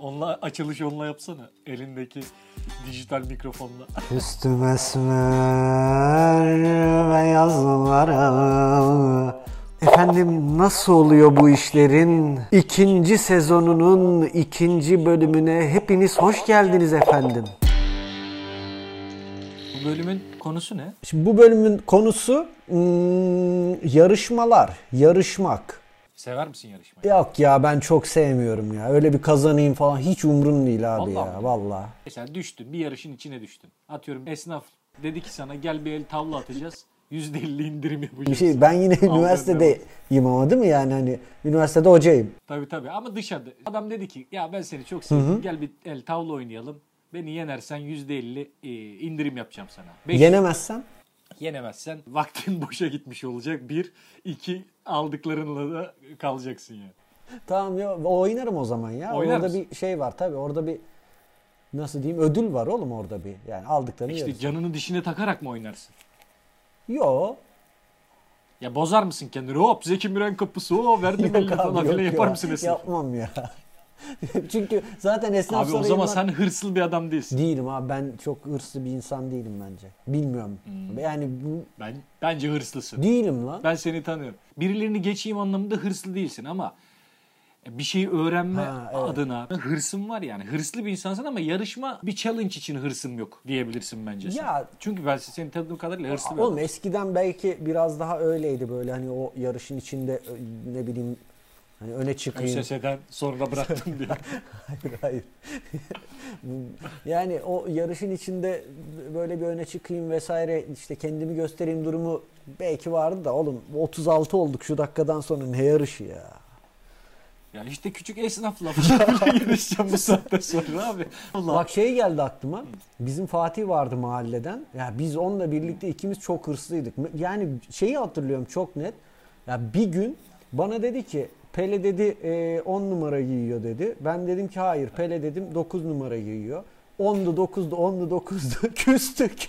Onunla açılışı onunla yapsana. Elindeki dijital mikrofonla. Üstüme sümer beyazlara. Efendim nasıl oluyor bu işlerin? İkinci sezonunun ikinci bölümüne hepiniz hoş geldiniz efendim. Bu bölümün konusu ne? Şimdi bu bölümün konusu hmm, yarışmalar, yarışmak. Sever misin yarışmayı? Yok ya ben çok sevmiyorum ya. Öyle bir kazanayım falan hiç umrum değil abi Vallahi ya mi? valla. Mesela düştün bir yarışın içine düştün. Atıyorum esnaf dedi ki sana gel bir el tavla atacağız. %50 indirim yapacağız. Bir şey ben yine üniversitedeyim ama değil mi yani hani üniversitede hocayım. Tabii tabii ama dışarıda. Adam dedi ki ya ben seni çok sevdim gel bir el tavla oynayalım. Beni yenersen %50 e, indirim yapacağım sana. Beş- Yenemezsem yenemezsen vaktin boşa gitmiş olacak. Bir, iki aldıklarınla da kalacaksın yani. Tamam ya oynarım o zaman ya. Oynar orada mısın? bir şey var tabii. Orada bir nasıl diyeyim ödül var oğlum orada bir. Yani aldıklarını İşte yeriz. canını dişine takarak mı oynarsın? Yo. Ya bozar mısın kendini? Hop Zeki Müren kapısı o verdim Yok eline falan abi filan yok yapar ya. mısın esnaf? Yapmam ya. Çünkü zaten esnaf Abi o zaman sarayından- sen hırslı bir adam değilsin. Değilim abi ben çok hırslı bir insan değilim bence. Bilmiyorum. Yani bu... Ben bence hırslısın. değilim lan. Ben seni tanıyorum. Birilerini geçeyim anlamında hırslı değilsin ama e, bir şeyi öğrenme Ha, evet. adına hırsım var yani. Hırslı bir insansın ama yarışma bir challenge için hırsım yok diyebilirsin bence sen. Ya- Çünkü ben seni tanıdığım kadarıyla hırslı bir Oğlum eskiden belki biraz daha öyleydi böyle hani o yarışın içinde ö- ne bileyim hani öne çıkayım. ÖSS'den sonra bıraktım diye. Hayır hayır. yani o yarışın içinde böyle bir öne çıkayım vesaire işte kendimi göstereyim durumu belki vardı da oğlum 36 olduk şu dakikadan sonra ne yarışı ya. Yani işte küçük esnaf lafıyla yarışacağım bu saatten sonra abi. Allah. Bak şey geldi aklıma. Bizim Fatih vardı mahalleden. Ya biz onunla birlikte ikimiz çok hırslıydık. Yani şeyi hatırlıyorum çok net. Ya bir gün bana dedi ki Pele dedi 10 numara giyiyor dedi. Ben dedim ki hayır Pele dedim 9 numara giyiyor. 10'du 9'du 10'du 9'du küstük.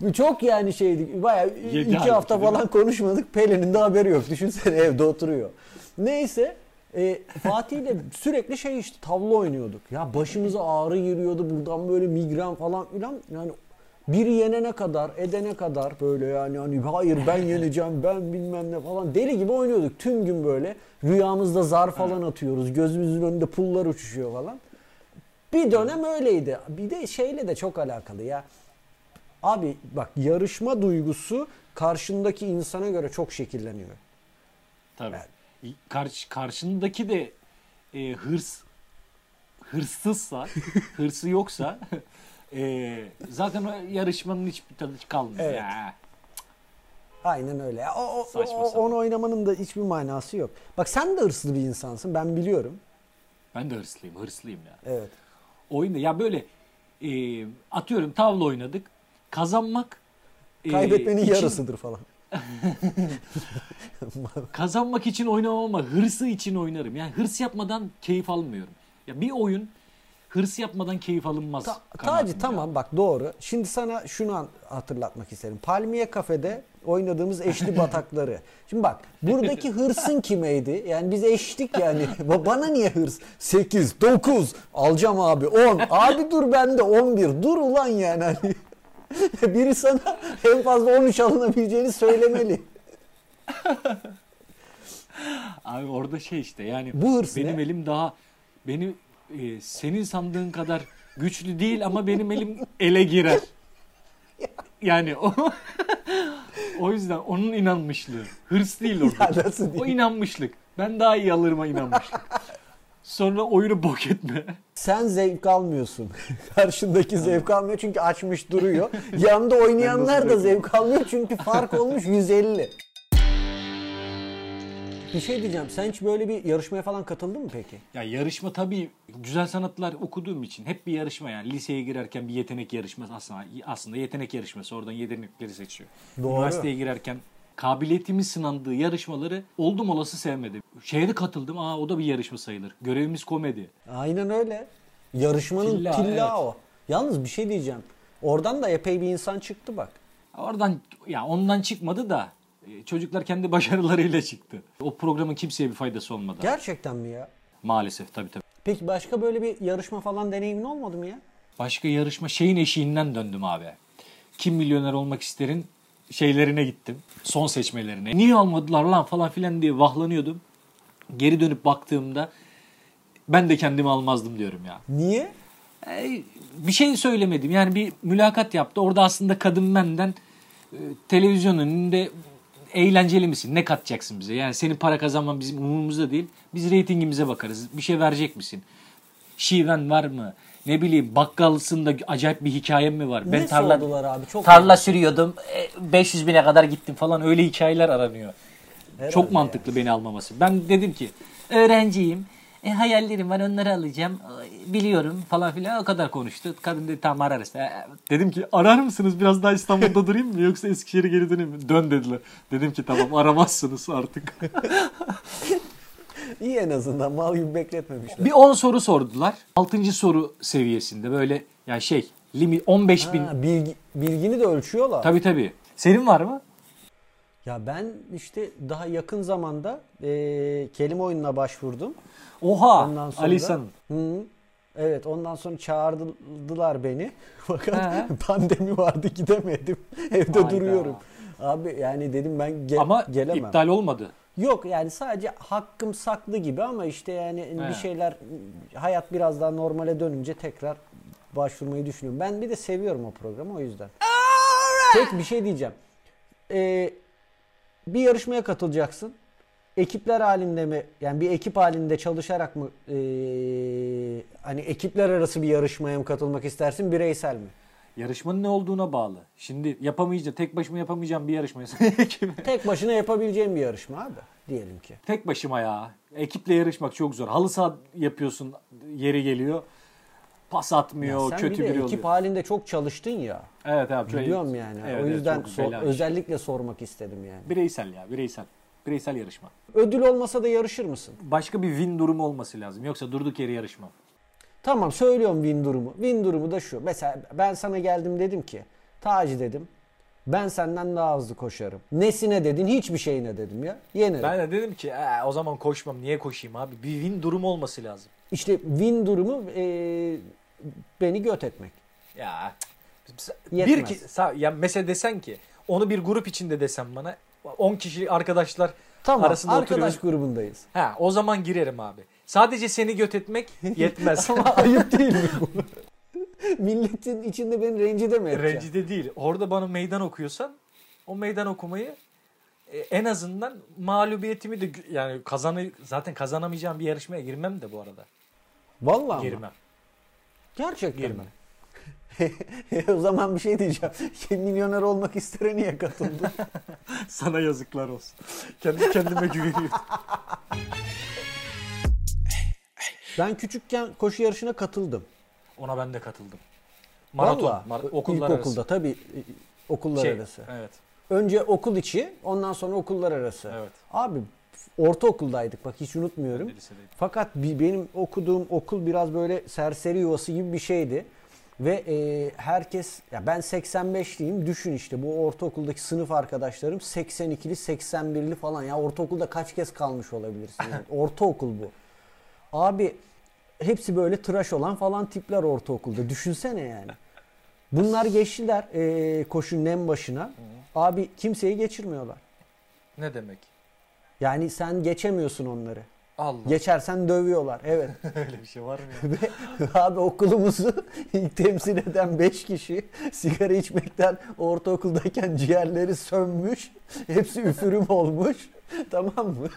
Bu çok yani şeydi. Bayağı Yedi iki halbuki, hafta değil mi? falan konuşmadık. Pelin'in de haberi yok. Düşünsene evde oturuyor. Neyse e, Fatih ile sürekli şey işte tavla oynuyorduk. Ya başımıza ağrı giriyordu. Buradan böyle migren falan filan. Yani biri yenene kadar, edene kadar böyle yani hani hayır ben yeneceğim, ben bilmem ne falan deli gibi oynuyorduk tüm gün böyle. Rüyamızda zar falan atıyoruz. Gözümüzün önünde pullar uçuşuyor falan. Bir dönem öyleydi. Bir de şeyle de çok alakalı ya. Abi bak yarışma duygusu karşındaki insana göre çok şekilleniyor. Tabii. Karşı, karşındaki de e, hırs hırsızsa, hırsı yoksa e, zaten o yarışmanın hiçbir tadı kalmıyor. Evet. Ya. Aynen öyle. Ya O, o- Saçma o- sapan. onu oynamanın da hiçbir manası yok. Bak sen de hırslı bir insansın ben biliyorum. Ben de hırslıyım, hırslıyım ya. Evet. Oyunda ya böyle e, atıyorum tavla oynadık. Kazanmak e, Kaybetmenin için- yarısıdır falan. kazanmak için oynamam ama hırsı için oynarım. Yani hırs yapmadan keyif almıyorum. Ya bir oyun hırs yapmadan keyif alınmaz. Ta- kanaatinde. Taci tamam bak doğru. Şimdi sana şunu an- hatırlatmak isterim. Palmiye kafede oynadığımız eşli batakları. Şimdi bak buradaki hırsın kimeydi? Yani biz eşlik yani. Ba- Bana niye hırs? 8, 9, alacağım abi 10. Abi dur bende 11. Dur ulan yani. Hani Biri sana en fazla 13 alınabileceğini söylemeli. Abi orada şey işte yani Bu hırs benim ne? elim daha benim e, senin sandığın kadar güçlü değil ama benim elim ele girer. Yani o o yüzden onun inanmışlığı. Hırs değil orada. Ya nasıl O diyeyim? inanmışlık. Ben daha iyi alırıma inanmışlık. Sonra oyunu bok etme. Sen zevk almıyorsun. Karşındaki zevk almıyor çünkü açmış duruyor. Yanında oynayanlar da zevk zevk almıyor çünkü fark olmuş 150. Bir şey diyeceğim. Sen hiç böyle bir yarışmaya falan katıldın mı peki? Ya yarışma tabii güzel sanatlar okuduğum için hep bir yarışma yani liseye girerken bir yetenek yarışması aslında aslında yetenek yarışması oradan yetenekleri seçiyor. Doğru. Üniversiteye girerken kabiliyetimin sınandığı yarışmaları oldum olası sevmedim. Şeye de katıldım. Aa o da bir yarışma sayılır. Görevimiz komedi. Aynen öyle. Yarışmanın Tilla, tilla, evet. o. Yalnız bir şey diyeceğim. Oradan da epey bir insan çıktı bak. Oradan ya ondan çıkmadı da e, çocuklar kendi başarılarıyla çıktı. O programın kimseye bir faydası olmadı. Gerçekten mi ya? Maalesef tabii tabii. Peki başka böyle bir yarışma falan deneyimin olmadı mı ya? Başka yarışma şeyin eşiğinden döndüm abi. Kim milyoner olmak isterin şeylerine gittim. Son seçmelerine. Niye almadılar lan falan filan diye vahlanıyordum. Geri dönüp baktığımda ben de kendimi almazdım diyorum ya. Niye? Ee, bir şey söylemedim. Yani bir mülakat yaptı. Orada aslında kadın benden e, televizyon önünde eğlenceli misin? Ne katacaksın bize? Yani senin para kazanman bizim umurumuzda değil. Biz reytingimize bakarız. Bir şey verecek misin? Şiven var mı? Ne bileyim bakkalısında acayip bir hikayem mi var? ne sordular abi? Çok tarla sürüyordum. e, 500 bine kadar gittim falan. Öyle hikayeler aranıyor. Çok mantıklı beni almaması. Ben dedim ki öğrenciyim. E, hayallerim var onları alacağım. E, Biliyorum falan filan o kadar konuştu. Kadın dedi tamam ararız. E, Dedim ki arar mısınız biraz daha İstanbul'da durayım mı yoksa Eskişehir'e geri döneyim mi? Dön dediler. Dedim ki tamam aramazsınız artık. İyi en azından mal gibi bekletmemişler. bir 10 soru sordular. 6. soru seviyesinde böyle yani şey limit 15 bin. Ha, bilgi, bilgini de ölçüyorlar. Tabii tabii. Senin var mı? Ya ben işte daha yakın zamanda eee kelime oyununa başvurdum. Oha Ondan sonra- Ali San'ın. Hı. Evet ondan sonra çağırdılar beni. Fakat He. pandemi vardı gidemedim. Evde Hayda. duruyorum. Abi yani dedim ben ge- Ama gelemem. iptal olmadı. Yok yani sadece hakkım saklı gibi ama işte yani He. bir şeyler hayat biraz daha normale dönünce tekrar başvurmayı düşünüyorum. Ben bir de seviyorum o programı o yüzden. Tek bir şey diyeceğim. Ee, bir yarışmaya katılacaksın. Ekipler halinde mi yani bir ekip halinde çalışarak mı ee, hani ekipler arası bir yarışmaya mı katılmak istersin bireysel mi? Yarışmanın ne olduğuna bağlı. Şimdi yapamayacağım, tek başıma yapamayacağım bir yarışmaya. Tek başına yapabileceğin bir yarışma abi diyelim ki. tek başıma ya. Ekiple yarışmak çok zor. Halı saha yapıyorsun, yeri geliyor. Pas atmıyor, sen kötü bir de biri oluyor. ekip halinde çok çalıştın ya. Evet abi. çok- Biliyorum yani. Evet, o evet, yüzden çok so- bela. özellikle sormak istedim yani. bireysel ya, bireysel. Bireysel yarışma. Ödül olmasa da yarışır mısın? Başka bir win durumu olması lazım. Yoksa durduk yere yarışma. Tamam söylüyorum win durumu. Win durumu da şu. Mesela ben sana geldim dedim ki Taci dedim. Ben senden daha hızlı koşarım. Nesine dedin? Hiçbir şeyine dedim ya. Yenerim. Ben de dedim ki "Ee, o zaman koşmam. Niye koşayım abi? Bir win durumu olması lazım. İşte win durumu eee, beni göt etmek. Ya cık. Yetmez. bir ki sa- ya mesela desen ki onu bir grup içinde desem bana 10 kişi arkadaşlar Tamam arasında arkadaş oturuyoruz. grubundayız. Ha o zaman girerim abi. Sadece seni göt etmek yetmez. Ama ayıp değil mi bu? Milletin içinde beni rencide mi edeceksin? Rencide değil. Orada bana meydan okuyorsan o meydan okumayı e, en azından mağlubiyetimi de gü- yani kazanı zaten kazanamayacağım bir yarışmaya girmem de bu arada. Vallahi mi? Girmem. Gerçekten Girme. mi? o zaman bir şey diyeceğim. Milyoner olmak istere niye katıldı? Sana yazıklar olsun. Kendi kendime güveniyorum. ben küçükken koşu yarışına katıldım. Ona ben de katıldım. Maraton. Vallahi, mar- okullar arası. İlkokulda tabii i- okullar Şey, arası. Evet. Önce okul içi ondan sonra okullar arası. Evet. Abi ortaokuldaydık bak hiç unutmuyorum. Ben de lisedeydim. Fakat bi- benim okuduğum okul biraz böyle serseri yuvası gibi bir şeydi. Ve e, herkes, ya ben 85'liyim düşün işte bu ortaokuldaki sınıf arkadaşlarım 82'li 81'li falan. Ya ortaokulda kaç kez kalmış olabilirsin? Yani? Ortaokul bu. Abi hepsi böyle tıraş olan falan tipler ortaokulda düşünsene yani. Bunlar geçtiler e, koşunun en başına. Abi kimseyi geçirmiyorlar. Ne demek? Yani sen geçemiyorsun onları. Allah. Geçersen dövüyorlar. Evet. Öyle bir şey var mı ya? Ve abi okulumuzu ilk temsil eden 5 kişi sigara içmekten ortaokuldayken ciğerleri sönmüş. Hepsi üfürüm olmuş. Tamam mı?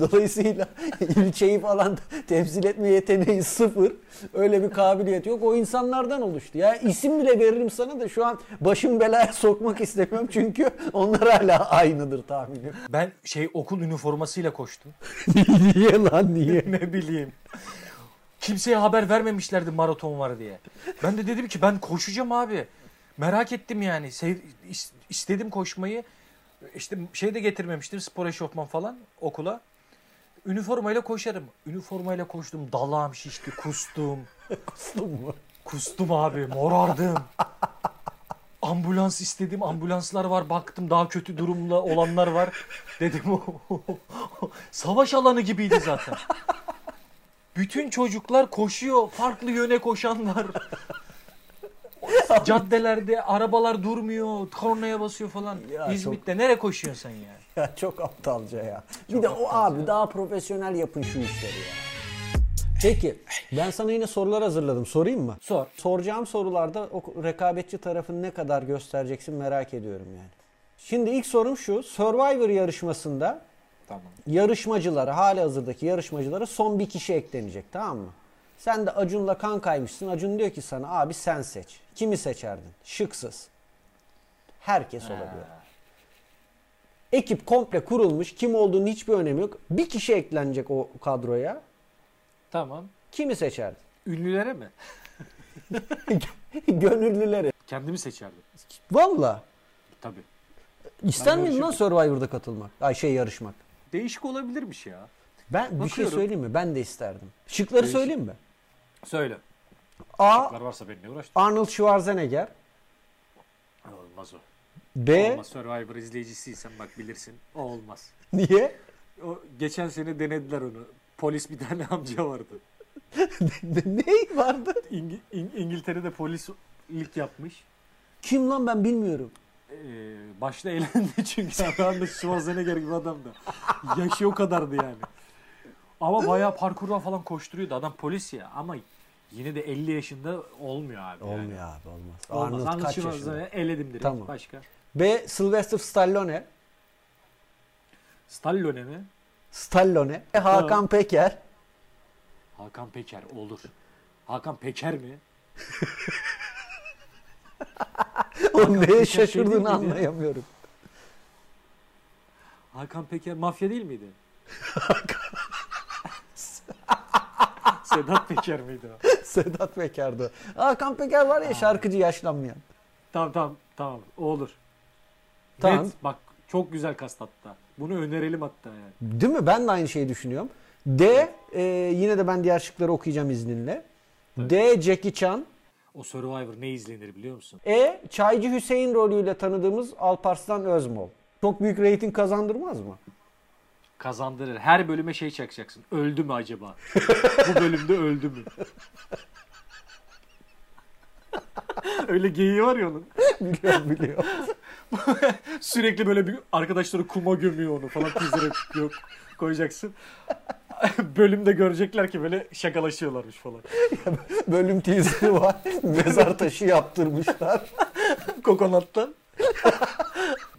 Dolayısıyla ilçeyi falan temsil etme yeteneği sıfır. Öyle bir kabiliyet yok. O insanlardan oluştu. Ya isim bile veririm sana da şu an başım belaya sokmak istemiyorum. Çünkü onlar hala aynıdır tahminim. Ben şey okul üniformasıyla koştum. niye lan niye? ne bileyim. Kimseye haber vermemişlerdi maraton var diye. Ben de dedim ki ben koşacağım abi. Merak ettim yani. Sev- is- istedim koşmayı. İşte şey de getirmemiştim spor eşofman falan okula. Üniformayla koşarım. Üniformayla koştum. Dalağım şişti. Kustum. Kustum mu? Kustum abi. Morardım. Ambulans istedim. Ambulanslar var. Baktım daha kötü durumda olanlar "Oh, var. Dedim o. Savaş alanı gibiydi zaten. Bütün çocuklar koşuyor. Farklı yöne koşanlar. Caddelerde arabalar durmuyor. Kornaya basıyor falan. Ya çok- İzmit'te nereye koşuyorsun sen yani? Ya çok aptalca ya. bir de o abi daha profesyonel yapın şu işleri ya. Peki ben sana yine sorular hazırladım. Sorayım mı? Sor. Soracağım sorularda o rekabetçi tarafını ne kadar göstereceksin merak ediyorum yani. Şimdi ilk sorum şu. Survivor yarışmasında Tamam. yarışmacılara, hali hazırdaki yarışmacılara son bir kişi eklenecek tamam mı? Sen de Acun'la kankaymışsın. Acun diyor ki sana abi sen seç. Kimi seçerdin? Şıksız. Herkes olabilir. Ekip komple kurulmuş. Kim olduğunun hiçbir önemi yok. Bir kişi eklenecek o kadroya. Tamam. Kimi seçerdin? Ünlülere mi? Gönüllüleri. Kendimi seçerdim. Valla. Tabii. İster Ben miydin lan Survivor'da katılmak? Ay şey yarışmak. Değişik olabilirmiş ya. Ben bir şey Bakıyorum. söyleyeyim mi? Ben de isterdim. Şıkları Değişik. söyleyeyim mi? Söyle. A. Şıklar varsa benimle uğraş. Arnold Schwarzenegger. Olmaz o. B. Olmaz. Survivor izleyicisiysen bak bilirsin. O olmaz. Niye? O, geçen sene denediler onu. Polis bir tane amca vardı. ne vardı? İngi- İng- İngiltere'de polislik yapmış. Kim lan ben bilmiyorum. Ee, başta eğlendi çünkü Arnold Schwarzenegger gibi adamdı. Yaşı o kadardı yani. Ama bayağı parkurdan falan koşturuyordu. Adam polis ya ama yine de 50 yaşında olmuyor abi. yani. Olmuyor abi olmaz. Olmaz. Arnold Arnold kaç yaşında? Schwarzenegger eledim direkt. Tamam. Başka. B. Sylvester Stallone. Stallone mi? Stallone. E, Hakan Peker. Hakan Peker olur. Hakan Peker mi? Oğlum Peker şey neye değil şaşırdığını miydi ya? anlayamıyorum. Hakan Peker mafya değil miydi? Sedat Peker miydi o? Sedat Peker'di. Hakan Peker var ya şarkıcı yaşlanmayan. Tamam tamam tamam o olur. Tamam. Net, bak çok güzel kast hatta. Bunu önerelim hatta yani. Değil mi? Ben de aynı şeyi düşünüyorum. D. e, yine de ben diğer şıkları okuyacağım izninle. D. Jackie Chan. O Survivor ne izlenir biliyor musun? E. Çaycı Hüseyin rolüyle tanıdığımız Alparslan Özmol. Çok büyük reyting kazandırmaz mı? Kazandırır. Her bölüme şey çakacaksın. Öldü mü acaba? Bu bölümde öldü mü? Öyle geyiği var ya onun. biliyorum biliyorum. Sürekli böyle bir arkadaşları kuma gömüyor onu falan teaser'e yok koyacaksın. Bölümde görecekler ki böyle şakalaşıyorlarmış falan. Bölüm teaser'ı var. Mezar taşı yaptırmışlar. Kokonattan.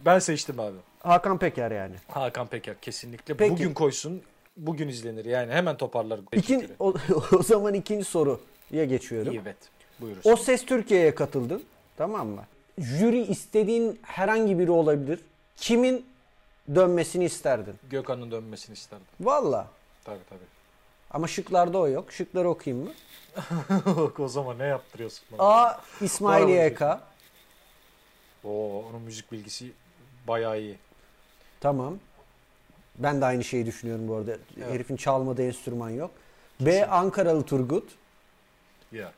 ben seçtim abi. Hakan Peker yani. Hakan Peker kesinlikle. Peki. Bugün koysun. Bugün izlenir yani. Hemen toparlar. İkin, o, o zaman ikinci soruya geçiyorum. Evet. Buyuruz. O Ses Türkiye'ye katıldın. Tamam mı? Jüri istediğin herhangi biri olabilir. Kimin dönmesini isterdin? Gökhan'ın dönmesini isterdim. Valla. Tabii tabii. Ama şıklarda o yok. Şıkları okuyayım mı? o zaman ne yaptırıyorsun bana? A. İsmail Var mı YK. Oo, onun müzik bilgisi bayağı iyi. Tamam. Ben de aynı şeyi düşünüyorum bu arada. Herifin çalmadığı enstrüman yok. B. Ankaralı Turgut. Yok.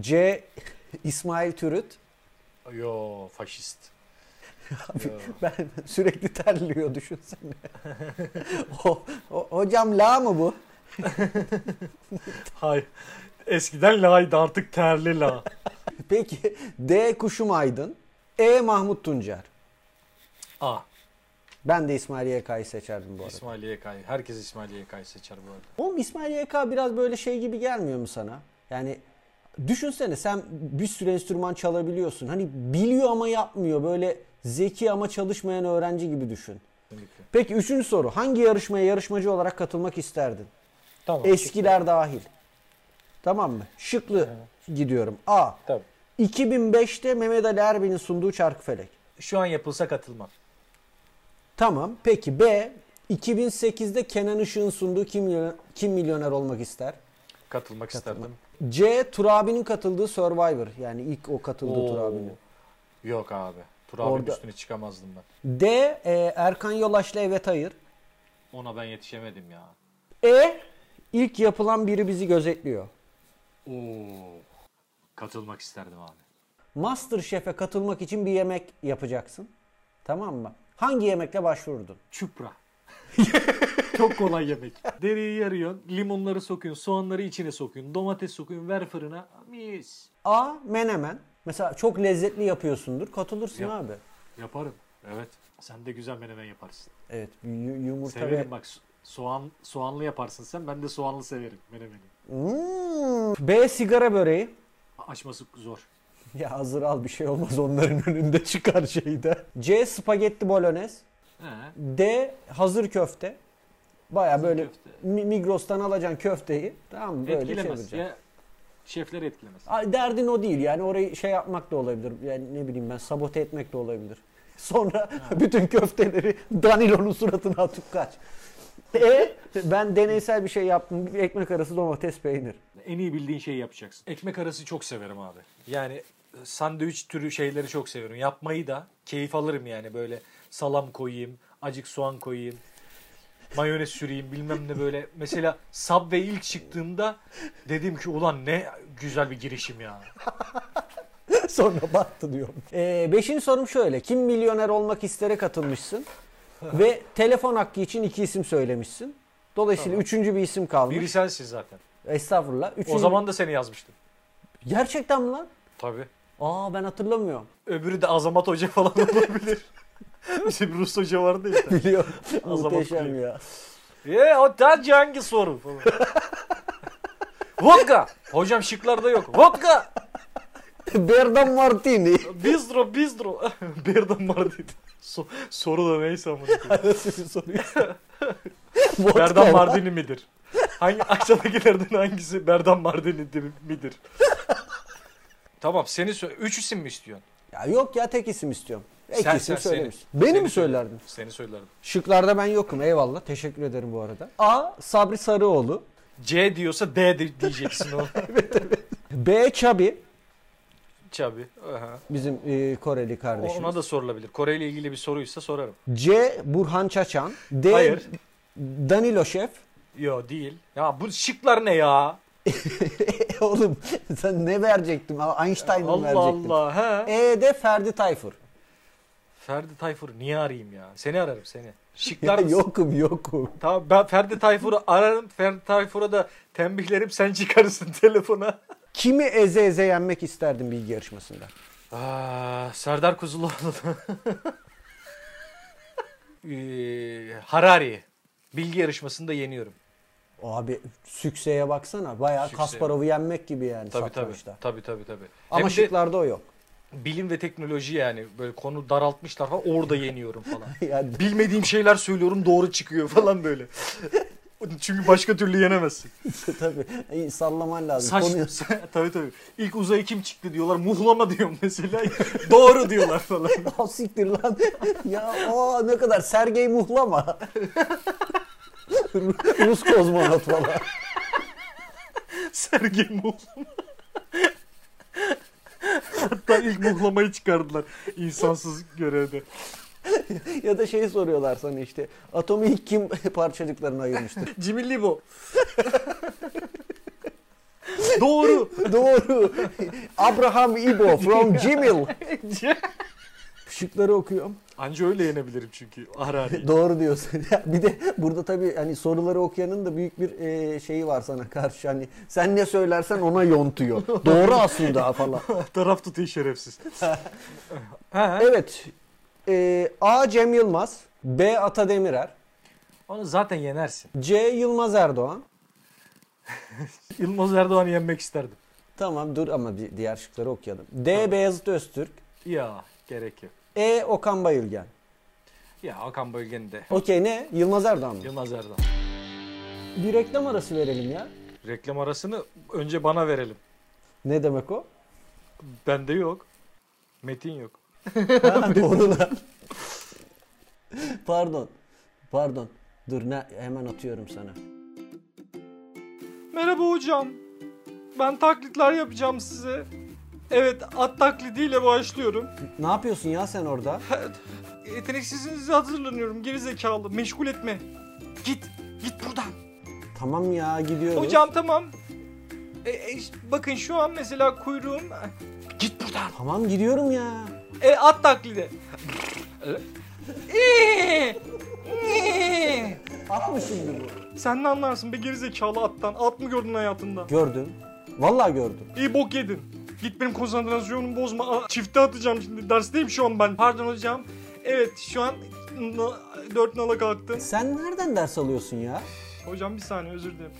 C. İsmail Türüt. Yo faşist. Yo. Ben sürekli terliyor düşünsene. o, o- hocam la mı bu? Hay. Eskiden laydı artık terli la. Peki D. Kuşum Aydın. E. Mahmut Tuncer. A. Ben de İsmail YK'yı seçerdim bu arada. İsmail YK'yı. Herkes İsmail YK'yı seçer bu arada. Oğlum İsmail YK biraz böyle şey gibi gelmiyor mu sana? Yani düşünsene sen bir sürü enstrüman çalabiliyorsun. Hani biliyor ama yapmıyor. Böyle zeki ama çalışmayan öğrenci gibi düşün. Kesinlikle. Peki üçüncü soru. Hangi yarışmaya yarışmacı olarak katılmak isterdin? Tamam. Eskiler dahil. Tamam mı? Şıklı gidiyorum. A. Tabii. 2005'te Mehmet Ali Erbil'in sunduğu Çarkıfelek. Şu an yapılsa katılmam. Tamam. Peki B. 2008'de Kenan Işık'ın sunduğu Kim Milyoner, Kim Milyoner Olmak ister? Katılmak isterdim. C. Turabi'nin katıldığı Survivor. Yani ilk o katıldığı Oo. Turabi'nin. Yok abi. Tur abinin Orada- üstüne çıkamazdım ben. D. e, Erkan Yolaş'la Evet Hayır. Ona ben yetişemedim ya. E. ilk yapılan biri bizi gözetliyor. Oo. Katılmak isterdim abi. Masterchef'e katılmak için bir yemek yapacaksın. Tamam mı? Hangi yemekle başvururdun? Çupra. Çok kolay yemek. Deriyi yarıyorsun, limonları sokuyorsun, soğanları içine sokuyorsun, domates sokuyorsun, ver fırına. Mis. A. Menemen. Mesela çok lezzetli yapıyorsundur. Katılırsın Yap. abi. Yaparım. Evet. Sen de güzel menemen yaparsın. Evet yu- yumurta Severim ve... bak. so- Soğan soğanlı yaparsın sen. Ben de soğanlı severim menemeni. Hmm. B. Sigara böreği. Açması zor. Ya hazır al bir şey olmaz onların önünde çıkar şeyde. C. Spagetti bolognese. He. D. Hazır köfte. Baya böyle köfte. Mi- Migros'tan alacaksın köfteyi. Tamam mı? Böyle şey Etkilemez. çevireceksin. Ya şefler etkilemez. Ay, Derdin o değil yani orayı şey yapmak da olabilir. Yani ne bileyim ben sabote etmek de olabilir. Sonra bütün köfteleri Danilo'nun suratına atıp kaç. E ben deneysel bir şey yaptım. Bir ekmek arası domates peynir. En iyi bildiğin şeyi yapacaksın. Ekmek arası çok severim abi. Yani e, sandviç türü şeyleri çok severim. Yapmayı da keyif alırım yani böyle salam koyayım, acık soğan koyayım, mayonez süreyim bilmem ne böyle. Mesela Subway ilk çıktığımda dedim ki ulan ne güzel bir girişim ya. Sonra battı diyorum. E, beşinci sorum şöyle. Kim milyoner olmak istere katılmışsın. ve telefon hakkı için iki isim söylemişsin. Dolayısıyla üçüncü bir isim kalmış. Biri sensin zaten. Estağfurullah. Üçüncü... O zaman da seni yazmıştım. Gerçekten mi lan? Tabii. Aa ben hatırlamıyorum. Öbürü de Azamat Hoca falan olabilir. Bizim Rus Hoca vardı ya. Biliyorum. O zaman Muhteşem kıyım. ya. Ye o tercih hangi soru falan. Vodka. Hocam şıklarda yok. Vodka. Berdan Martini. Bistro bistro. Berdan Mardin. So- soru da neyse ama. Nasıl bir soruyu? Vodka Berdan var. Mardini midir? Hangi aşağıdakilerden hangisi Berdan Mardini dir- midir? tamam seni sö- üç isim mi istiyorsun? Ya yok ya tek isim istiyorum. Ek Sen- isim sen- söylemiş. seni. Beni Seni mi söyle. söylerdin? Seni söylerim. Şıklarda ben yokum eyvallah. Teşekkür ederim bu arada. A. Sabri Sarıoğlu. C diyorsa D di- diyeceksin o. B. Çabi. Çabi. Aha. Bizim e, Koreli O- kardeşimiz. Ona da sorulabilir. Kore ile ilgili bir soruysa sorarım. C. Burhan Çaçan. D. Hayır. Danilo Şef. Yo değil. Ya bu şıklar ne ya? Oğlum sen ne verecektim? Einstein'ı mı Allah verecektim? Allah. He. E de Ferdi Tayfur. Ferdi Tayfur'u niye arayayım ya? Seni ararım seni. Ya Şıklar yok. yokum yokum. Tamam ben Ferdi Tayfur'u ararım. Ferdi Tayfur'a da tembihlerim sen çıkarsın telefona. Kimi eze eze yenmek isterdin bilgi yarışmasında? Aa, Serdar Kuzuloğlu. Ee, Harari. Bilgi yarışmasında yeniyorum. Abi Sükse'ye baksana. Bayağı Sükse. Kasparov'u yenmek gibi yani Tabii tabii. satrançta. Tabii tabii tabii. Ama Hem de şıklarda o yok. bilim ve teknoloji yani böyle konu daraltmışlar falan orada yeniyorum falan. Yani Bilmediğim şeyler söylüyorum doğru çıkıyor falan böyle. Çünkü başka türlü yenemezsin. tabii İyi, sallaman lazım. Saç, Konuyu- tabii tabii. İlk uzaya kim çıktı diyorlar. Muhlama diyorum mesela. Doğru diyorlar falan. Ah, siktir lan. ya o ne kadar Sergey Muhlama. Rus kozmonot falan. Sergey Muhlama. Hatta ilk muhlamayı çıkardılar insansız görevde. ya da şey soruyorlar sana işte atomu ilk kim parçacıklarına ayırmıştır? Jimmy Libo. Doğru. Doğru. Abraham Ibo from Jimil. Şıkları okuyorum. Anca öyle yenebilirim çünkü. Harari. Doğru diyorsun. Ya bir de burada tabii hani soruları okuyanın da büyük bir e, şeyi var sana karşı. Hani sen ne söylersen ona yontuyor. Doğru aslında falan. Taraf tutuyor şerefsiz. ha, Evet. E, A. Cem Yılmaz. B. Ata Demirer. onu zaten yenersin. C. Yılmaz Erdoğan. Yılmaz Erdoğan'ı yenmek isterdim. Tamam dur ama bir diğer şıkları okuyalım. D. Beyazıt Öztürk. Ya gerek yok. E. Okan Bayülgen. Ya Hakan Bölge'nin de. Okey ne? Yılmaz Erdoğan mı? Yılmaz Erdoğan. Bir reklam arası verelim ya. Reklam arasını önce bana verelim. Ne demek o? Bende yok. Metin yok. Ha, Doğru lan. Pardon. Pardon. Dur ne hemen atıyorum sana. Merhaba hocam. Ben taklitler yapacağım size. Evet at taklidiyle başlıyorum. Ne yapıyorsun ya sen orada? Yeteneksizinizi hazırlanıyorum gerizekalı. Meşgul etme. Git. Git buradan. Tamam ya gidiyoruz. Hocam tamam. E, e, ş- bakın şu an mesela kuyruğum. Git buradan. Tamam gidiyorum ya. E, at taklidi. E, At mı şimdi bu? Sen ne anlarsın be gerizekalı attan? At mı gördün hayatında? Gördüm. Vallahi gördüm. İyi bok yedin. Git benim konsantrasyonumu bozma. Aa, Çifte atacağım şimdi. Dersteyim şu an ben. Pardon hocam. Evet şu an na- dört nala kalktın. Sen nereden ders alıyorsun ya? Hocam bir saniye özür dilerim.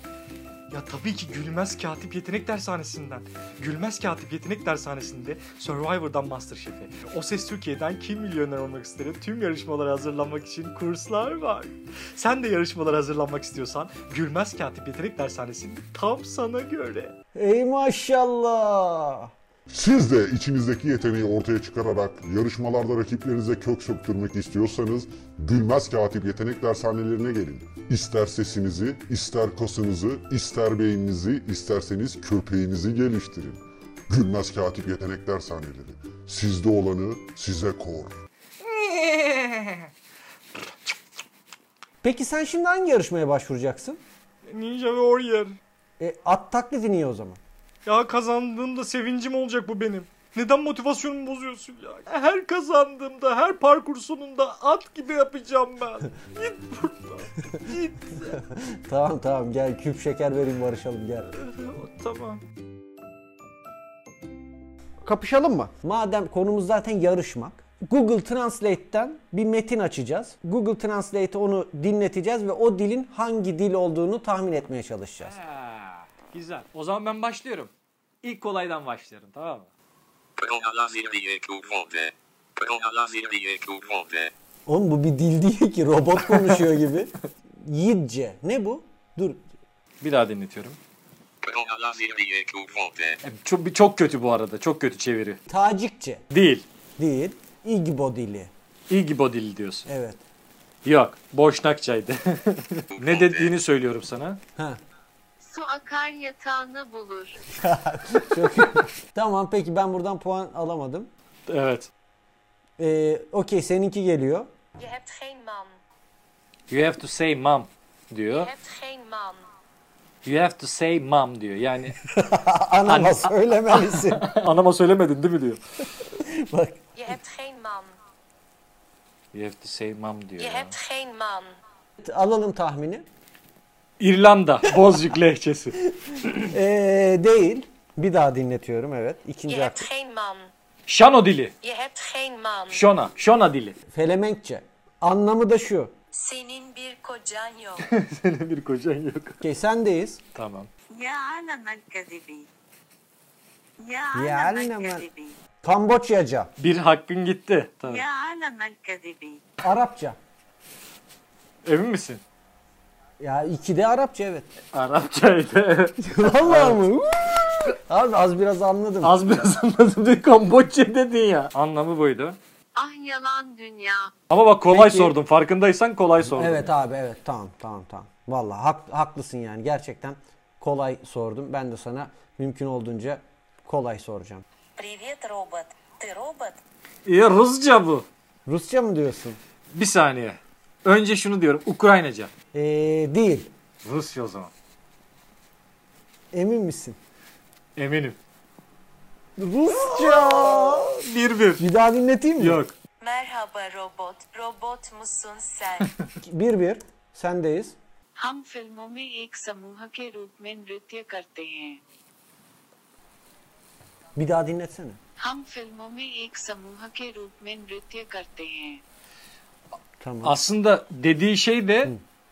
Ya tabii ki Gülmez Katip Yetenek Dershanesi'nden. Gülmez Katip Yetenek Dershanesi'nde Survivor'dan Masterchef'e. O Ses Türkiye'den Kim Milyoner Olmak ister'e tüm yarışmalara hazırlanmak için kurslar var. Sen de yarışmalara hazırlanmak istiyorsan Gülmez Katip Yetenek Dershanesi tam sana göre. Ey maşallah. Siz de içinizdeki yeteneği ortaya çıkararak yarışmalarda rakiplerinize kök söktürmek istiyorsanız Gülmez Katip Yetenek Dershanelerine gelin. İster sesinizi, ister kasınızı, ister beyninizi, isterseniz köpeğinizi geliştirin. Gülmez Katip Yetenek Dershaneleri. Sizde olanı size kor. Peki sen şimdi hangi yarışmaya başvuracaksın? Ninja Warrior. E, at taklidi niye o zaman? Ya kazandığımda sevincim olacak bu benim. Neden motivasyonumu bozuyorsun ya? Her kazandığımda, her parkur sonunda at gibi yapacağım ben. Git buradan. Git. Tamam tamam gel küp şeker vereyim barışalım gel. tamam. Kapışalım mı? Madem konumuz zaten yarışmak. Google Translate'ten bir metin açacağız. Google Translate'e onu dinleteceğiz ve o dilin hangi dil olduğunu tahmin etmeye çalışacağız. Ha, güzel. O zaman ben başlıyorum. İlk kolaydan başlıyorum tamam mı? Corona laser diye kurvolde. Corona laser diye kurvolde. Oğlum bu bir dil değil ki robot konuşuyor gibi. Yidce. Ne bu? Dur. Bir daha dinletiyorum. Corona laser diye kurvolde. E, Çok, bir- çok kötü bu arada. Çok kötü çeviri. Tacikçe Değil. değil. İgbo dili. İgibo dili diyorsun. Evet. Yok. Boşnakçaydı. ne dediğini söylüyorum sana. Ha. Su akar yatağını bulur. Tamam peki ben buradan puan alamadım. Evet. Ee, Okey seninki geliyor. Je hebt geen man. You have to say mom diyor. Je hebt geen man. You have to say mom diyor. Yani Anama söylemelisin. anama söylemedin değil mi diyor. Bak Je hebt geen man. You have to say mom diyor. Je ya. hebt geen man. alalım tahmini. İrlanda. Bozcuk lehçesi. Ee, değil. Bir daha dinletiyorum evet. Je İkinci hebt hakkı. geen man. Şano dili. Je hebt geen man. Şona. Şona dili. Felemenkçe. Anlamı da şu. Senin bir kocan yok. Senin bir kocan yok. Okey sendeyiz. Tamam. Ya anam kadibi. Ya Ya anam kadibi. Kamboçyaca. Bir hakkın gitti. Tabii. anam kadibi. Arapça. Emin misin? Ya iki de Arapça evet. Arapçaydı. Vallahi mı? Uuu! Abi az biraz anladım. Az biraz anladım diye Kamboçya dedin ya. Anlamı buydu. Ah yalan dünya. Ama bak kolay Peki. sordum. Farkındaysan kolay sordum. Evet abi evet tamam tamam tamam. Vallahi hak- haklısın yani gerçekten kolay sordum. Ben de sana mümkün olduğunca kolay soracağım. Привет, робот. Ты робот? İyi Rusça bu. Rusça mı diyorsun? Bir saniye. Önce şunu diyorum. Ukraynaca. Ee, değil. Rusya o zaman. Emin misin? Eminim. Rusça. Bir bir. Bir daha dinleteyim mi? Yok. Merhaba robot. Robot musun sen? Bir bir. Sendeyiz. हम फिल्मों में एक समूह के रूप में नृत्य करते हैं Bir daha dinletsene. हम फिल्मों में एक समूह के रूप में नृत्य करते हैं Tamam. Aslında dediği şey de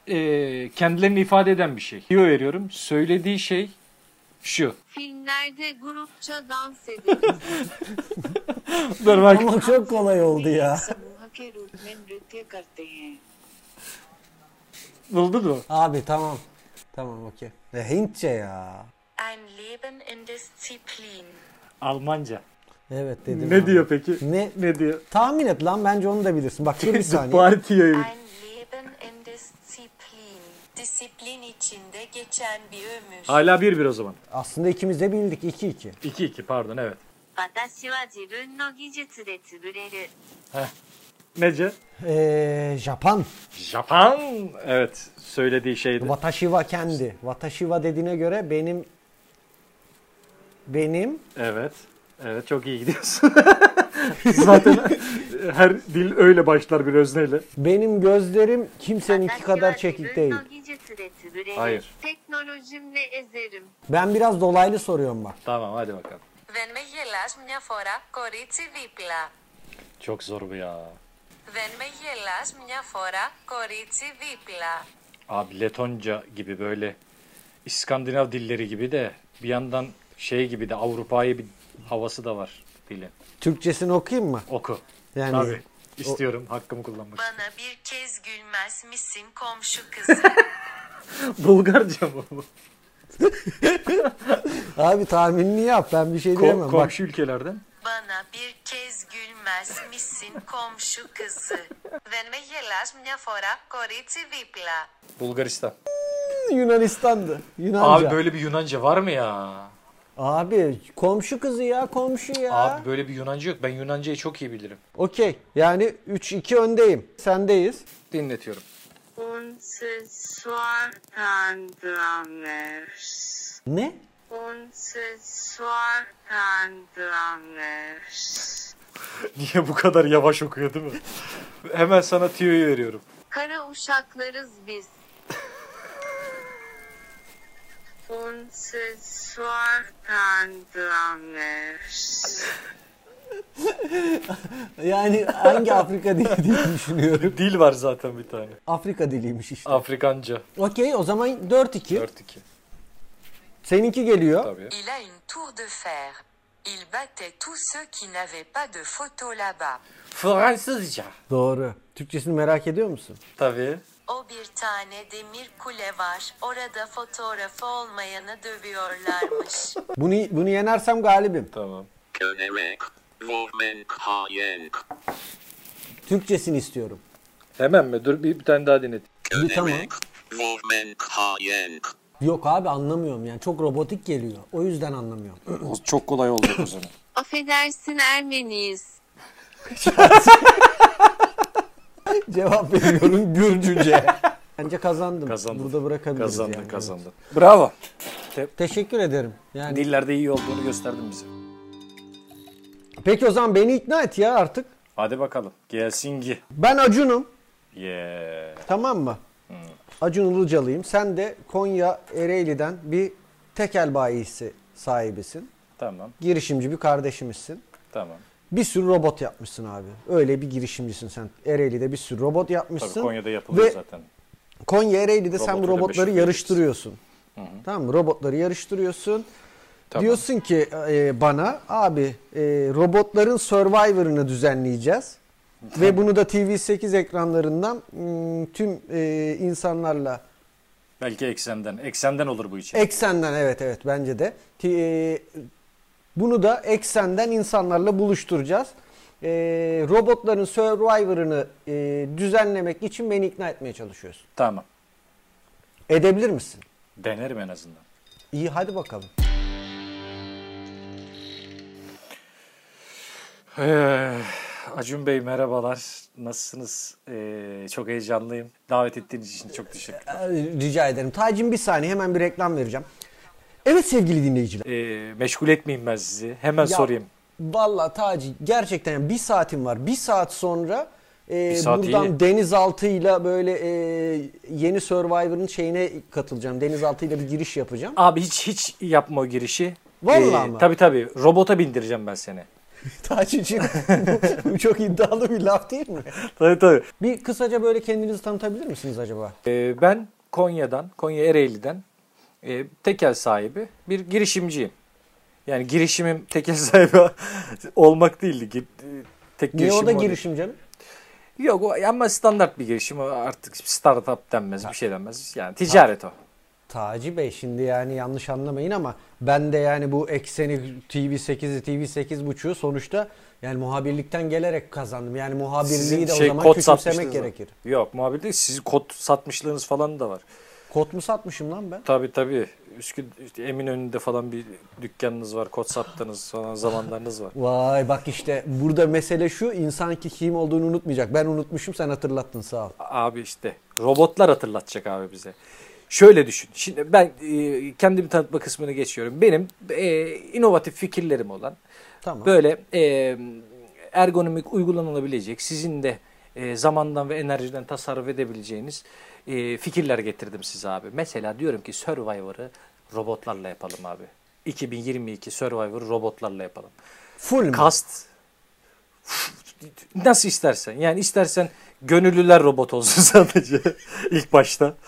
e, kendilerini ifade eden bir şey. Diyor veriyorum. Söylediği şey şu. Filmlerde grupça dans edilir. Dur bak. Ama çok kolay oldu ya. समूह के रूप में नृत्य करते हैं Buldun mu? Abi tamam. Tamam okey. E, Hintçe ya. Ein Leben in Disziplin. Almanca. Evet dedim. Ne abi. diyor peki? Ne? Ne diyor? Tahmin et lan bence onu da bilirsin. Bak dur bir saniye. Partiye Ein Leben in Disziplin. Disiplin içinde geçen bir ömür. Hala 1-1 o zaman. Aslında ikimiz de bildik 2-2. 2-2 pardon evet. Nece? Ee, Japon. Japan. Evet söylediği şeydi. Watashi wa kendi. Watashi wa dediğine göre benim benim Evet. Evet çok iyi gidiyorsun. Zaten her dil öyle başlar bir özneyle. Benim gözlerim kimseninki kadar çekik değil. Hayır. Teknolojimle ezerim. Ben biraz dolaylı soruyorum bak. Tamam hadi bakalım. Δεν με γελάς μια φορά, κορίτσι δίπλα. Çok zor bu ya. Δεν με γελάς μια φορά, κορίτσι δίπλα. Abi Letonca gibi böyle İskandinav dilleri gibi de bir yandan şey gibi de Avrupa'yı bir havası da var dili. Türkçesini okuyayım mı? Oku. Yani- Tabii. İstiyorum hakkımı kullanmak. Bana bir kez gülmez misin komşu kızı? Bulgarca mı bu? Abi tahminini yap ben bir şey diyemem. bak Ko- komşu ülkelerden. Bana bir kez gülmez misin komşu kızı? Δεν με γελάς μια φορά, κορίτσι δίπλα. Bulgaristan. Yunanistan'dı. Yunanca. Abi Abi, böyle bir Yunanca var mı ya? komşu kızı ya komşu ya. Abi böyle bir Yunanca yok. Ben Yunancayı çok iyi bilirim. Okey yani 3-2 öndeyim. Sendeyiz. Dinletiyorum. Unsesuartandramer. Ne? Unsesuartandramer. Niye bu kadar yavaş okuyor değil mi? Hemen sana tüyoyu veriyorum. Kara uşaklarız biz. Unsesuartandramer. Yani hangi Afrika dili diye düşünüyorum. Dil var zaten bir tane. Afrika diliymiş işte. Afrikanca. Okey o zaman 4-2. 4-2. Seninki geliyor. Tabii. Il a une tour de fer. Il battait tous ceux qui n'avaient pas de photo là-bas. Fransızca. Doğru. Türkçesini merak ediyor musun? Tabii. O bir tane demir kule var. Orada fotoğrafı olmayanı dövüyorlarmış. Bunu bunu yenersem galibim. Tamam. Könerek. Vurmen hayenk. Türkçesini istiyorum. Hemen mi? Dur bir, bir tane daha dinlet. Könerek. Vurmen hayenk. Yok abi anlamıyorum yani çok robotik geliyor. O yüzden anlamıyorum. Çok kolay olacak o zaman. Affedersin Ermeniyiz. Cevap veriyorum Gürcüce. Bence kazandım. Kazandın. Burada bırakabiliriz Kazandın yani. kazandın. Bravo. Teşekkür ederim. Yani Dillerde iyi olduğunu gösterdin bize. Peki o zaman beni ikna et ya artık. Hadi bakalım. Gelsin ki. Ben Acun'um. Yeah. Tamam mı? Acun Ilıcalı'yım. Sen de Konya Ereğli'den bir tekel bayisi sahibisin. Tamam. Girişimci bir kardeşimizsin. Tamam. Bir sürü robot yapmışsın abi. Öyle bir girişimcisin sen. Ereğli'de bir sürü robot yapmışsın. Tabii Konya'da yapılıyor Ve zaten. Konya Ereğli'de sen bu Robotuyla robotları meşhur yarıştırıyorsun. Tamam mı? Robotları yarıştırıyorsun. Tamam. Diyorsun ki e, bana abi e, robotların Survivor'ını düzenleyeceğiz. Ve bunu da TV8 ekranlarından mm, tüm e, insanlarla Belki eksenden. Eksenden olur bu için. Eksenden evet evet bence de. Ti- e, Bunu da eksenden insanlarla buluşturacağız. E, robotların Survivor'ını e, düzenlemek için beni ikna etmeye çalışıyorsun. tamam. Edebilir misin? Denerim en azından. İyi hadi bakalım. Ee, Acun Bey merhabalar. Nasılsınız? Ee, çok heyecanlıyım. Davet ettiğiniz için çok teşekkür Ee, Rica ederim. Tacim bir saniye hemen bir reklam vereceğim. Evet sevgili dinleyiciler. Ee, meşgul etmeyeyim ben sizi. Hemen Ya, şey sorayım. Vallahi Taci gerçekten yani bir saatim var. Bir saat sonra e, Bir saat buradan iyi. denizaltıyla böyle e, yeni Survivor'ın şeyine katılacağım. Denizaltıyla bir giriş yapacağım. Abi hiç hiç yapma o girişi. Ee, Vallahi mi? Tabii tabii. Robota bindireceğim ben seni. Taci'cim bu, bu çok iddialı bir laf değil mi? tabii tabii. Bir kısaca böyle kendinizi tanıtabilir misiniz acaba? Ee, ben Konya'dan, Konya Ereğli'den e, tekel sahibi bir girişimciyim. Yani girişimim tekel sahibi olmak değildi. Gir- e, Tek Niye o da o değil. girişim canım? Yok o ama standart bir girişim. O artık startup denmez, bir şey denmez. Yani ticaret o. Taci Bey şimdi yani yanlış anlamayın ama ben de yani bu ekseni TV8'i TV8.5'u sonuçta yani muhabirlikten gelerek kazandım. Yani muhabirliği de şey o zaman küçümsemek satmışlığınız var. gerekir. Yok muhabir değil. Sizin kod satmışlığınız falan da var. Kot mu satmışım lan ben? Tabii tabii. Üsküd işte Eminönü'nde falan bir dükkanınız var. Kod sattınız falan zamanlarınız var. Vay bak işte burada mesele şu insan ki kim olduğunu unutmayacak. Ben unutmuşum sen hatırlattın sağ ol. Abi işte robotlar hatırlatacak abi bize. Şöyle düşün. Şimdi ben e, kendimi tanıtma kısmını geçiyorum. Benim e, inovatif fikirlerim olan Tamam. böyle e, ergonomik uygulanabilecek, sizin de e, zamandan ve enerjiden tasarruf edebileceğiniz e, fikirler getirdim size abi. Mesela diyorum ki Survivor'ı robotlarla yapalım abi. 2022 Survivor'ı robotlarla yapalım. Full mu? Kast nasıl istersen. Yani istersen gönüllüler robot olsun sadece ilk başta.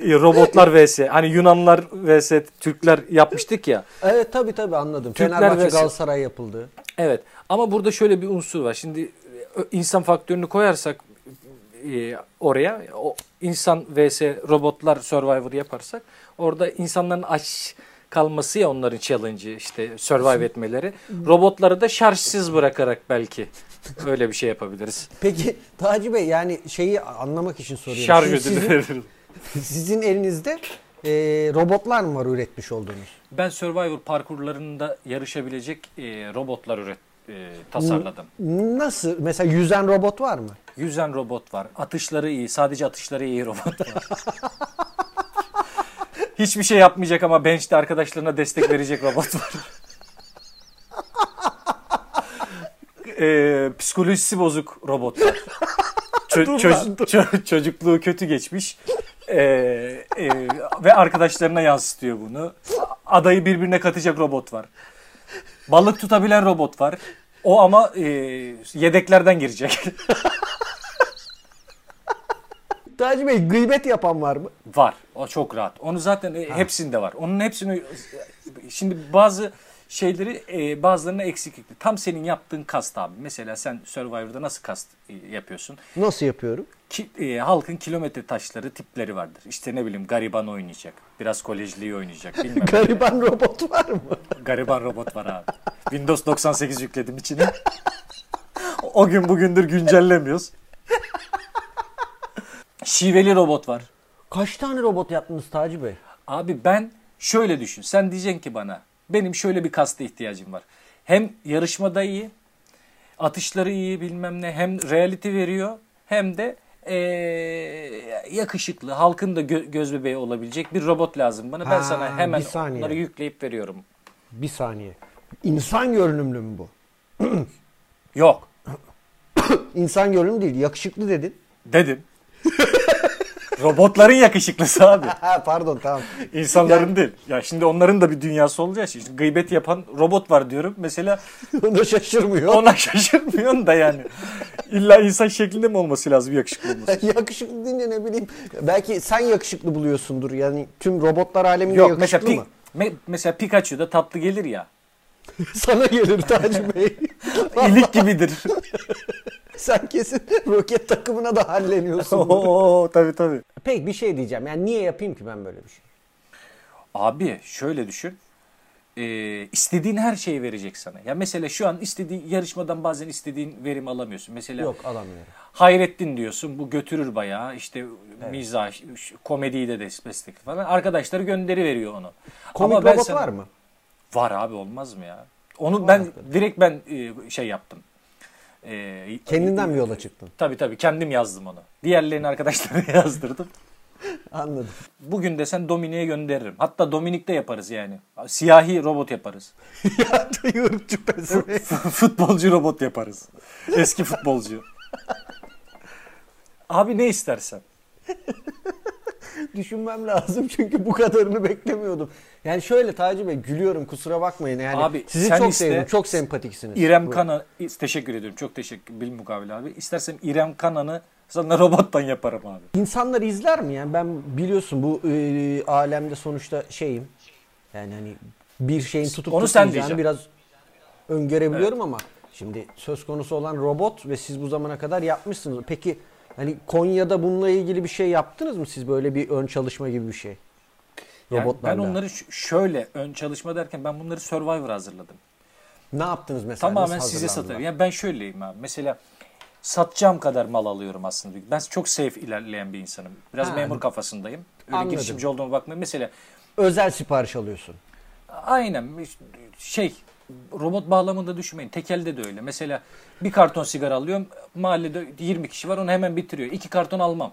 Robotlar vs. Hani Yunanlar vs. Türkler yapmıştık ya. Evet tabii tabii anladım. Türkler Fenerbahçe ve- Galatasaray yapıldı. Evet ama burada şöyle bir unsur var. Şimdi e, ö- insan faktörünü koyarsak e, oraya o insan vs robotlar survivor yaparsak orada insanların aç kalması ya onların challenge'ı işte survive etmeleri. Robotları da şarjsız bırakarak belki öyle bir şey yapabiliriz. Peki Taci Bey yani şeyi anlamak için soruyorum. Şarj Şimdi ödülü veririm. sizin, sizin elinizde e, robotlar mı var üretmiş olduğunuz? Ben survivor parkurlarında yarışabilecek e, robotlar üret e, tasarladım. Nasıl? Mesela yüzen robot var mı? Yüzen robot var. Atışları iyi. Sadece atışları iyi robotlar. Hiçbir şey yapmayacak ama bench'te arkadaşlarına destek verecek robot var. Ee, psikolojisi bozuk robotlar. Çö- çö- çö- çocukluğu kötü geçmiş. Ee, e, ve arkadaşlarına yansıtıyor bunu. Adayı birbirine katacak robot var. Balık tutabilen robot var. O ama e, yedeklerden girecek. Taci Bey gıybet yapan var mı? Var. O çok rahat. Onu zaten e, hepsinde var. Onun hepsini e, şimdi bazı şeyleri e, bazılarına eksiklikti. Tam senin yaptığın kast abi. Mesela sen Survivor'da nasıl kast e, yapıyorsun? Nasıl yapıyorum? Ki, e, halkın kilometre taşları tipleri vardır. İşte ne bileyim gariban oynayacak. Biraz kolejliği oynayacak. Bilmem. ne. Gariban robot var mı? gariban robot var abi. Windows 98 yükledim içine. o gün bugündür güncellemiyoruz. Şiveli robot var. Kaç tane robot yaptınız Taci Bey? Abi ben şöyle düşün. Sen diyeceksin ki bana benim şöyle bir kasta ihtiyacım var. Hem yarışmada iyi, atışları iyi bilmem ne hem reality veriyor hem de eee, yakışıklı, halkın da gö- göz bebeği olabilecek bir robot lazım bana. Ben Ha, sana hemen bir saniye. onları yükleyip veriyorum. Bir saniye. İnsan görünümlü mü bu? Yok İnsan görünümlü değil. Yakışıklı dedin. dedim. Robotların yakışıklısı abi. Ha pardon tamam. İnsanların değil. Ya şimdi onların da bir dünyası olacağı için. Şimdi Gıybet yapan robot var diyorum. Mesela Ona şaşırmıyor. Ona şaşırmıyorsun da yani. İlla insan şeklinde mi olması lazım yakışıklı olması? yakışıklı deyince ne bileyim. Belki sen yakışıklı buluyorsundur. Yani tüm robotlar aleminde Yok mesela, yakışıklı pi, mı? me- mesela Pikachu da tatlı gelir ya. Sana gelir Taci Bey. İlik gibidir. sen kesin roket takımına da halleniyorsun. Oo tabii tabii. Peki bir şey diyeceğim. Yani niye yapayım ki ben böyle bir şey? Abi şöyle düşün. Ee, istediğin her şeyi verecek sana. Ya mesela şu an istediğin yarışmadan bazen istediğin verim alamıyorsun. Mesela Yok alamıyorum. Hayrettin diyorsun. Bu götürür bayağı. İşte mizah, şu komediyi de destek falan. Arkadaşları gönderi veriyor onu. Komik Ama ben robot sana- var mı? Var abi olmaz mı ya? Onu ben direkt ben e, şey yaptım. E, Kendinden mi yola çıktın? Tabii tabii kendim yazdım onu. Diğerlerini arkadaşlarına yazdırdım. Anladım. Bugün de sen Dominik'e gönderirim. Hatta Dominik'te yaparız yani. Siyahi robot yaparız. ya ırkçı pezevenk. futbolcu robot yaparız. Eski futbolcu. abi ne istersen. Düşünmem lazım çünkü bu kadarını beklemiyordum. Yani şöyle Taci Bey gülüyorum kusura bakmayın. Yani Abi, sizi sen çok iste- seviyorum. Çok sempatiksiniz. İrem Kana teşekkür ediyorum. Çok teşekkür bilmukabil abi. İstersen İrem Kanan'ı sana robottan yaparım abi. İnsanlar izler mi yani ben biliyorsun bu e, alemde sonuçta şeyim yani hani bir şeyin tutup Onu sen tutmayacağını diyeceksin. biraz öngörebiliyorum ama şimdi söz konusu olan robot ve siz bu zamana kadar yapmışsınız. Peki hani Konya'da bununla ilgili bir şey yaptınız mı siz böyle bir ön çalışma gibi bir şey? Yani ben Robotlarla. onları ş- şöyle ön çalışma derken ben bunları Survivor hazırladım. Ne yaptınız mesela? Tamamen Nasıl size hazırlandılar? satarım. Ya ben şöyleyim abi. Mesela satacağım kadar mal alıyorum aslında. Ben çok safe ilerleyen bir insanım. Biraz Ha. memur kafasındayım. Öyle Anladım. girişimci olduğuma bakmayın. Mesela Özel sipariş alıyorsun. aynen şey robot bağlamında düşünmeyin. Tekelde de öyle. Mesela bir karton sigara alıyorum. Mahallede 20 kişi var. Onu hemen bitiriyor. İki karton almam.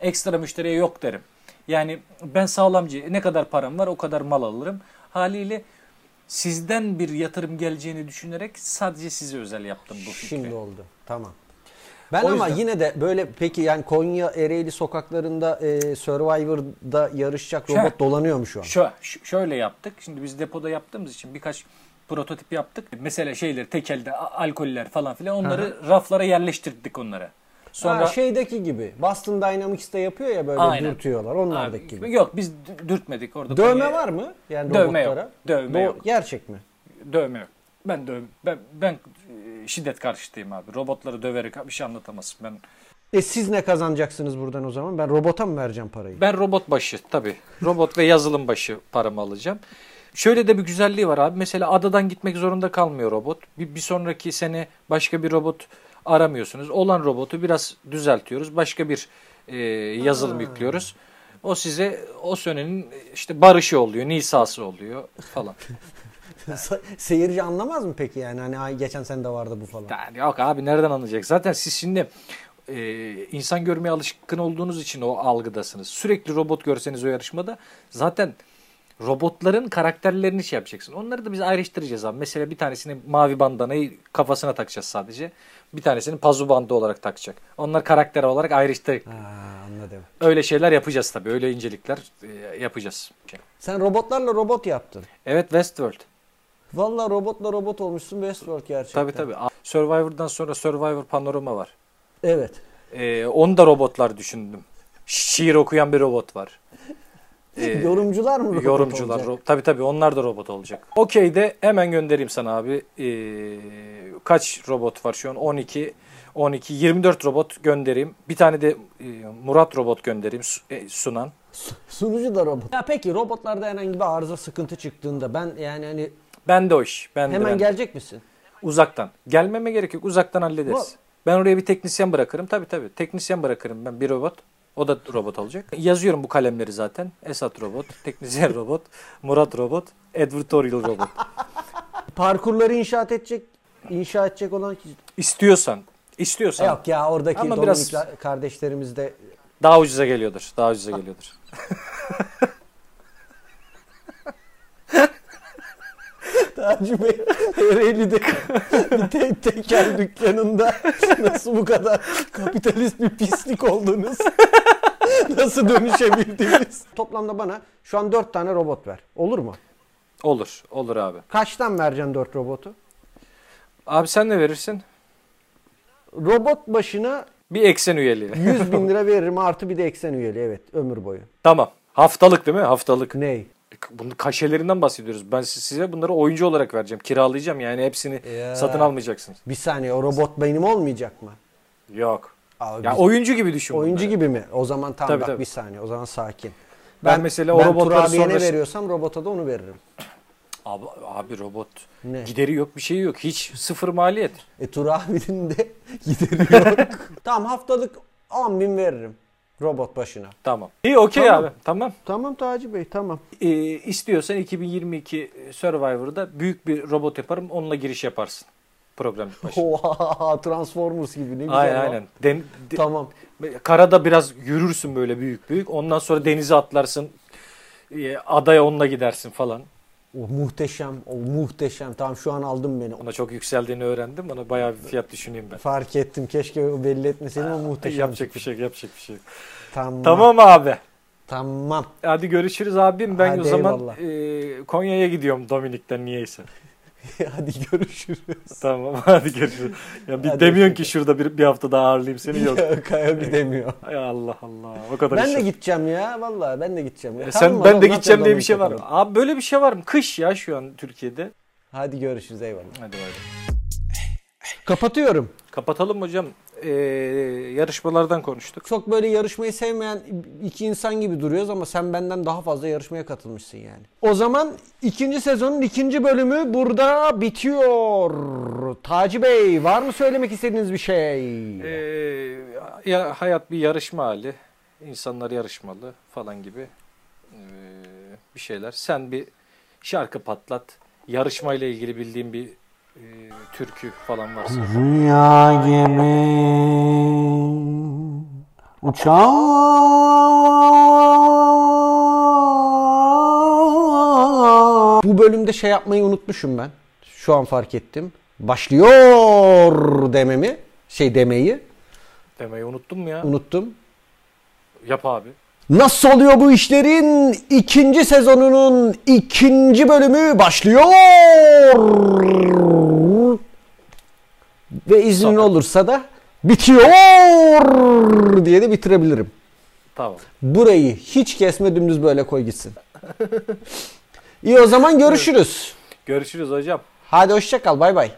Ekstra müşteriye yok derim. Yani ben sağlamcı ne kadar param var o kadar mal alırım. Haliyle sizden bir yatırım geleceğini düşünerek sadece size özel yaptım bu fikri. Şimdi oldu. Tamam. Ben O ama yüzden- yine de böyle peki yani Konya Ereğli sokaklarında e, Survivor'da yarışacak robot Heh. dolanıyor mu şu an? Şö- ş- şöyle yaptık. Şimdi biz depoda yaptığımız için birkaç prototip yaptık. Mesela şeyleri tekelde a- alkoller falan filan onları raflara yerleştirdik onlara. Ha, şeydeki gibi. Boston Dynamics'te yapıyor ya böyle Aynen. dürtüyorlar. Onlardaki Abi, gibi. Yok biz dü- dürtmedik orada. Dövme Konya- var mı? Yani Dövme yok, robotlara. dövme yok. Gerçek mi? Dövme yok. Ben dövme ben, ben e, şiddet karşıtıyım abi. Robotları döverek bir şey anlatamazsın. Ben E siz ne kazanacaksınız buradan o zaman? Ben robota mı vereceğim parayı? Ben robot başı tabii. Robot ve yazılım başı paramı alacağım. Şöyle de bir güzelliği var abi. Mesela adadan gitmek zorunda kalmıyor robot. Bir, bir sonraki sene başka bir robot aramıyorsunuz. Olan robotu biraz düzeltiyoruz. Başka bir e, yazılım yüklüyoruz. O size o senenin işte barışı oluyor, nisası oluyor falan. Seyirci anlamaz mı peki yani? Hani "Ay, geçen sene de vardı bu falan. Yani yok abi nereden anlayacak? Zaten siz şimdi e, insan görmeye alışkın olduğunuz için o algıdasınız. Sürekli robot görseniz o yarışmada zaten robotların karakterlerini şey yapacaksın. Onları da biz ayrıştıracağız abi. Mesela bir tanesini mavi bandanayı kafasına takacağız sadece. Bir tanesini pazu bandı olarak takacak. Onlar karakter olarak ayrıştır. Ha, anladım. Öyle şeyler yapacağız tabii. Öyle incelikler e, yapacağız. Sen robotlarla robot yaptın. Evet Westworld. Vallahi robotla robot olmuşsun Westworld gerçekten. Tabii tabii. Survivor'dan sonra Survivor Panorama var. Evet. Ee, onu da robotlar düşündüm. Şi- Şiir okuyan bir robot var. Ee, Yorumcular mı robot yorumcular. olacak? Ro- tabii tabii onlar da robot olacak. Okey de hemen göndereyim sana abi. Ee, kaç robot var şu an? 12. 12, 24 robot göndereyim. Bir tane de e, Murat robot göndereyim Su- e, sunan. Sunucu da robot. Ya peki robotlarda herhangi bir arıza sıkıntı çıktığında ben yani hani Ben de o iş. Ben de, hemen ben de. gelecek misin? Uzaktan. Gelmeme gerek yok. Uzaktan hallederiz. Bu- Ben oraya bir teknisyen bırakırım. Tabii tabii. Teknisyen bırakırım ben. Bir robot. O da robot olacak. Yazıyorum bu kalemleri zaten. Esat robot, teknisyen robot, Murat robot, advertorial robot. Parkurları inşaat edecek inşa edecek olan kişi. İstiyorsan, istiyorsan Yok ya oradaki Ama Dominik biraz- kardeşlerimiz de daha ucuza geliyordur. Daha ucuza geliyordur. Taci Bey Ereğli'de bir te- tekel dükkanında nasıl bu kadar kapitalist bir pislik oldunuz? nasıl dönüşebildiniz? Toplamda bana şu an 4 tane robot ver. Olur mu? Olur, olur abi. Kaçtan vereceksin 4 robotu? Abi sen ne verirsin? Robot başına Bir eksen üyeliği. 100 bin lira veririm artı bir de eksen üyeliği evet ömür boyu. tamam. Haftalık değil mi? Haftalık. Ney? Bunu kaşelerinden bahsediyoruz. Ben si- size bunları oyuncu olarak vereceğim. Kiralayacağım yani hepsini Ya. satın almayacaksınız. Bir saniye o robot benim olmayacak mı? Yok. Abi Ya biz- oyuncu gibi düşün. Oyuncu bunları. gibi mi? O zaman tam Tabii, bak tabii. bir saniye o zaman sakin. Ben mesela o ben robotları Turabiye ne sonrası- veriyorsam robota da onu veririm. Abi, abi robot Ne? gideri yok bir şey yok. Hiç sıfır maliyet. E Tur abinin de gideri yok. tamam haftalık 10 bin veririm robot başına. Tamam. İyi okey Tamam. abi. Tamam. Tamam Taci Bey tamam. Ee, istiyorsan 2022 Survivor'da büyük bir robot yaparım. Onunla giriş yaparsın. Program başı. Oha Transformers gibi ne güzel. Aynen lan. aynen. Den- de- Tamam. karada biraz yürürsün böyle büyük büyük. Ondan sonra denize atlarsın. Ee, adaya onunla gidersin falan. O muhteşem, o muhteşem. Tamam şu an aldın beni. Ona çok yükseldiğini öğrendim. Ona bayağı bir fiyat düşüneyim ben. Fark ettim. Keşke belli etmeseydim o muhteşem. Yapacak bir şey yok, yapacak bir şey. yok. Tamam. Tamam. Tamam abi. Tamam. Hadi görüşürüz abim. Ben Hadi o zaman eyvallah. e, Konya'ya gidiyorum Dominik'ten niyeyse. Hadi görüşürüz. Tamam hadi görüşürüz. Ya bir Hadi demiyorsun ki şurada bir, bir hafta daha ağırlayayım seni yok. Ya, Kaya gidemiyor. Ay Allah Allah. O kadar Ben iş de yok. gideceğim ya. Vallahi ben de gideceğim. E, Ya. sen Tamam, ben oğlum, de ne gideceğim diye bir yapacağız şey var mı? Dominik'te Abi böyle bir şey var mı? Kış ya şu an Türkiye'de. falan? Hadi görüşürüz eyvallah. Hadi hadi. Kapatıyorum. Kapatalım hocam. Ee, yarışmalardan konuştuk. Çok böyle yarışmayı sevmeyen iki insan gibi duruyoruz ama sen benden daha fazla yarışmaya katılmışsın yani. O zaman ikinci sezonun ikinci bölümü burada bitiyor. Taci Bey var mı söylemek istediğiniz bir şey? Ee, ya hayat bir yarışma hali. İnsanlar yarışmalı falan gibi ee, bir şeyler. Sen bir şarkı patlat. Yarışmayla ilgili bildiğin bir ee, türkü falan varsa. Rüya gibi uçan Bu bölümde şey yapmayı unutmuşum ben. Şu an fark ettim. Başlıyor dememi, şey demeyi Demeyi unuttum mu ya? unuttum. Yap abi. Nasıl oluyor bu işlerin? ikinci sezonunun ikinci bölümü başlıyor. Ve izin Tamam. olursa da bitiyor diye de bitirebilirim. Tamam. Burayı hiç kesme dümdüz böyle koy gitsin. İyi o zaman görüşürüz. Görüşürüz hocam. Hadi hoşça kal bay bay.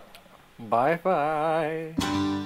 Bye bye.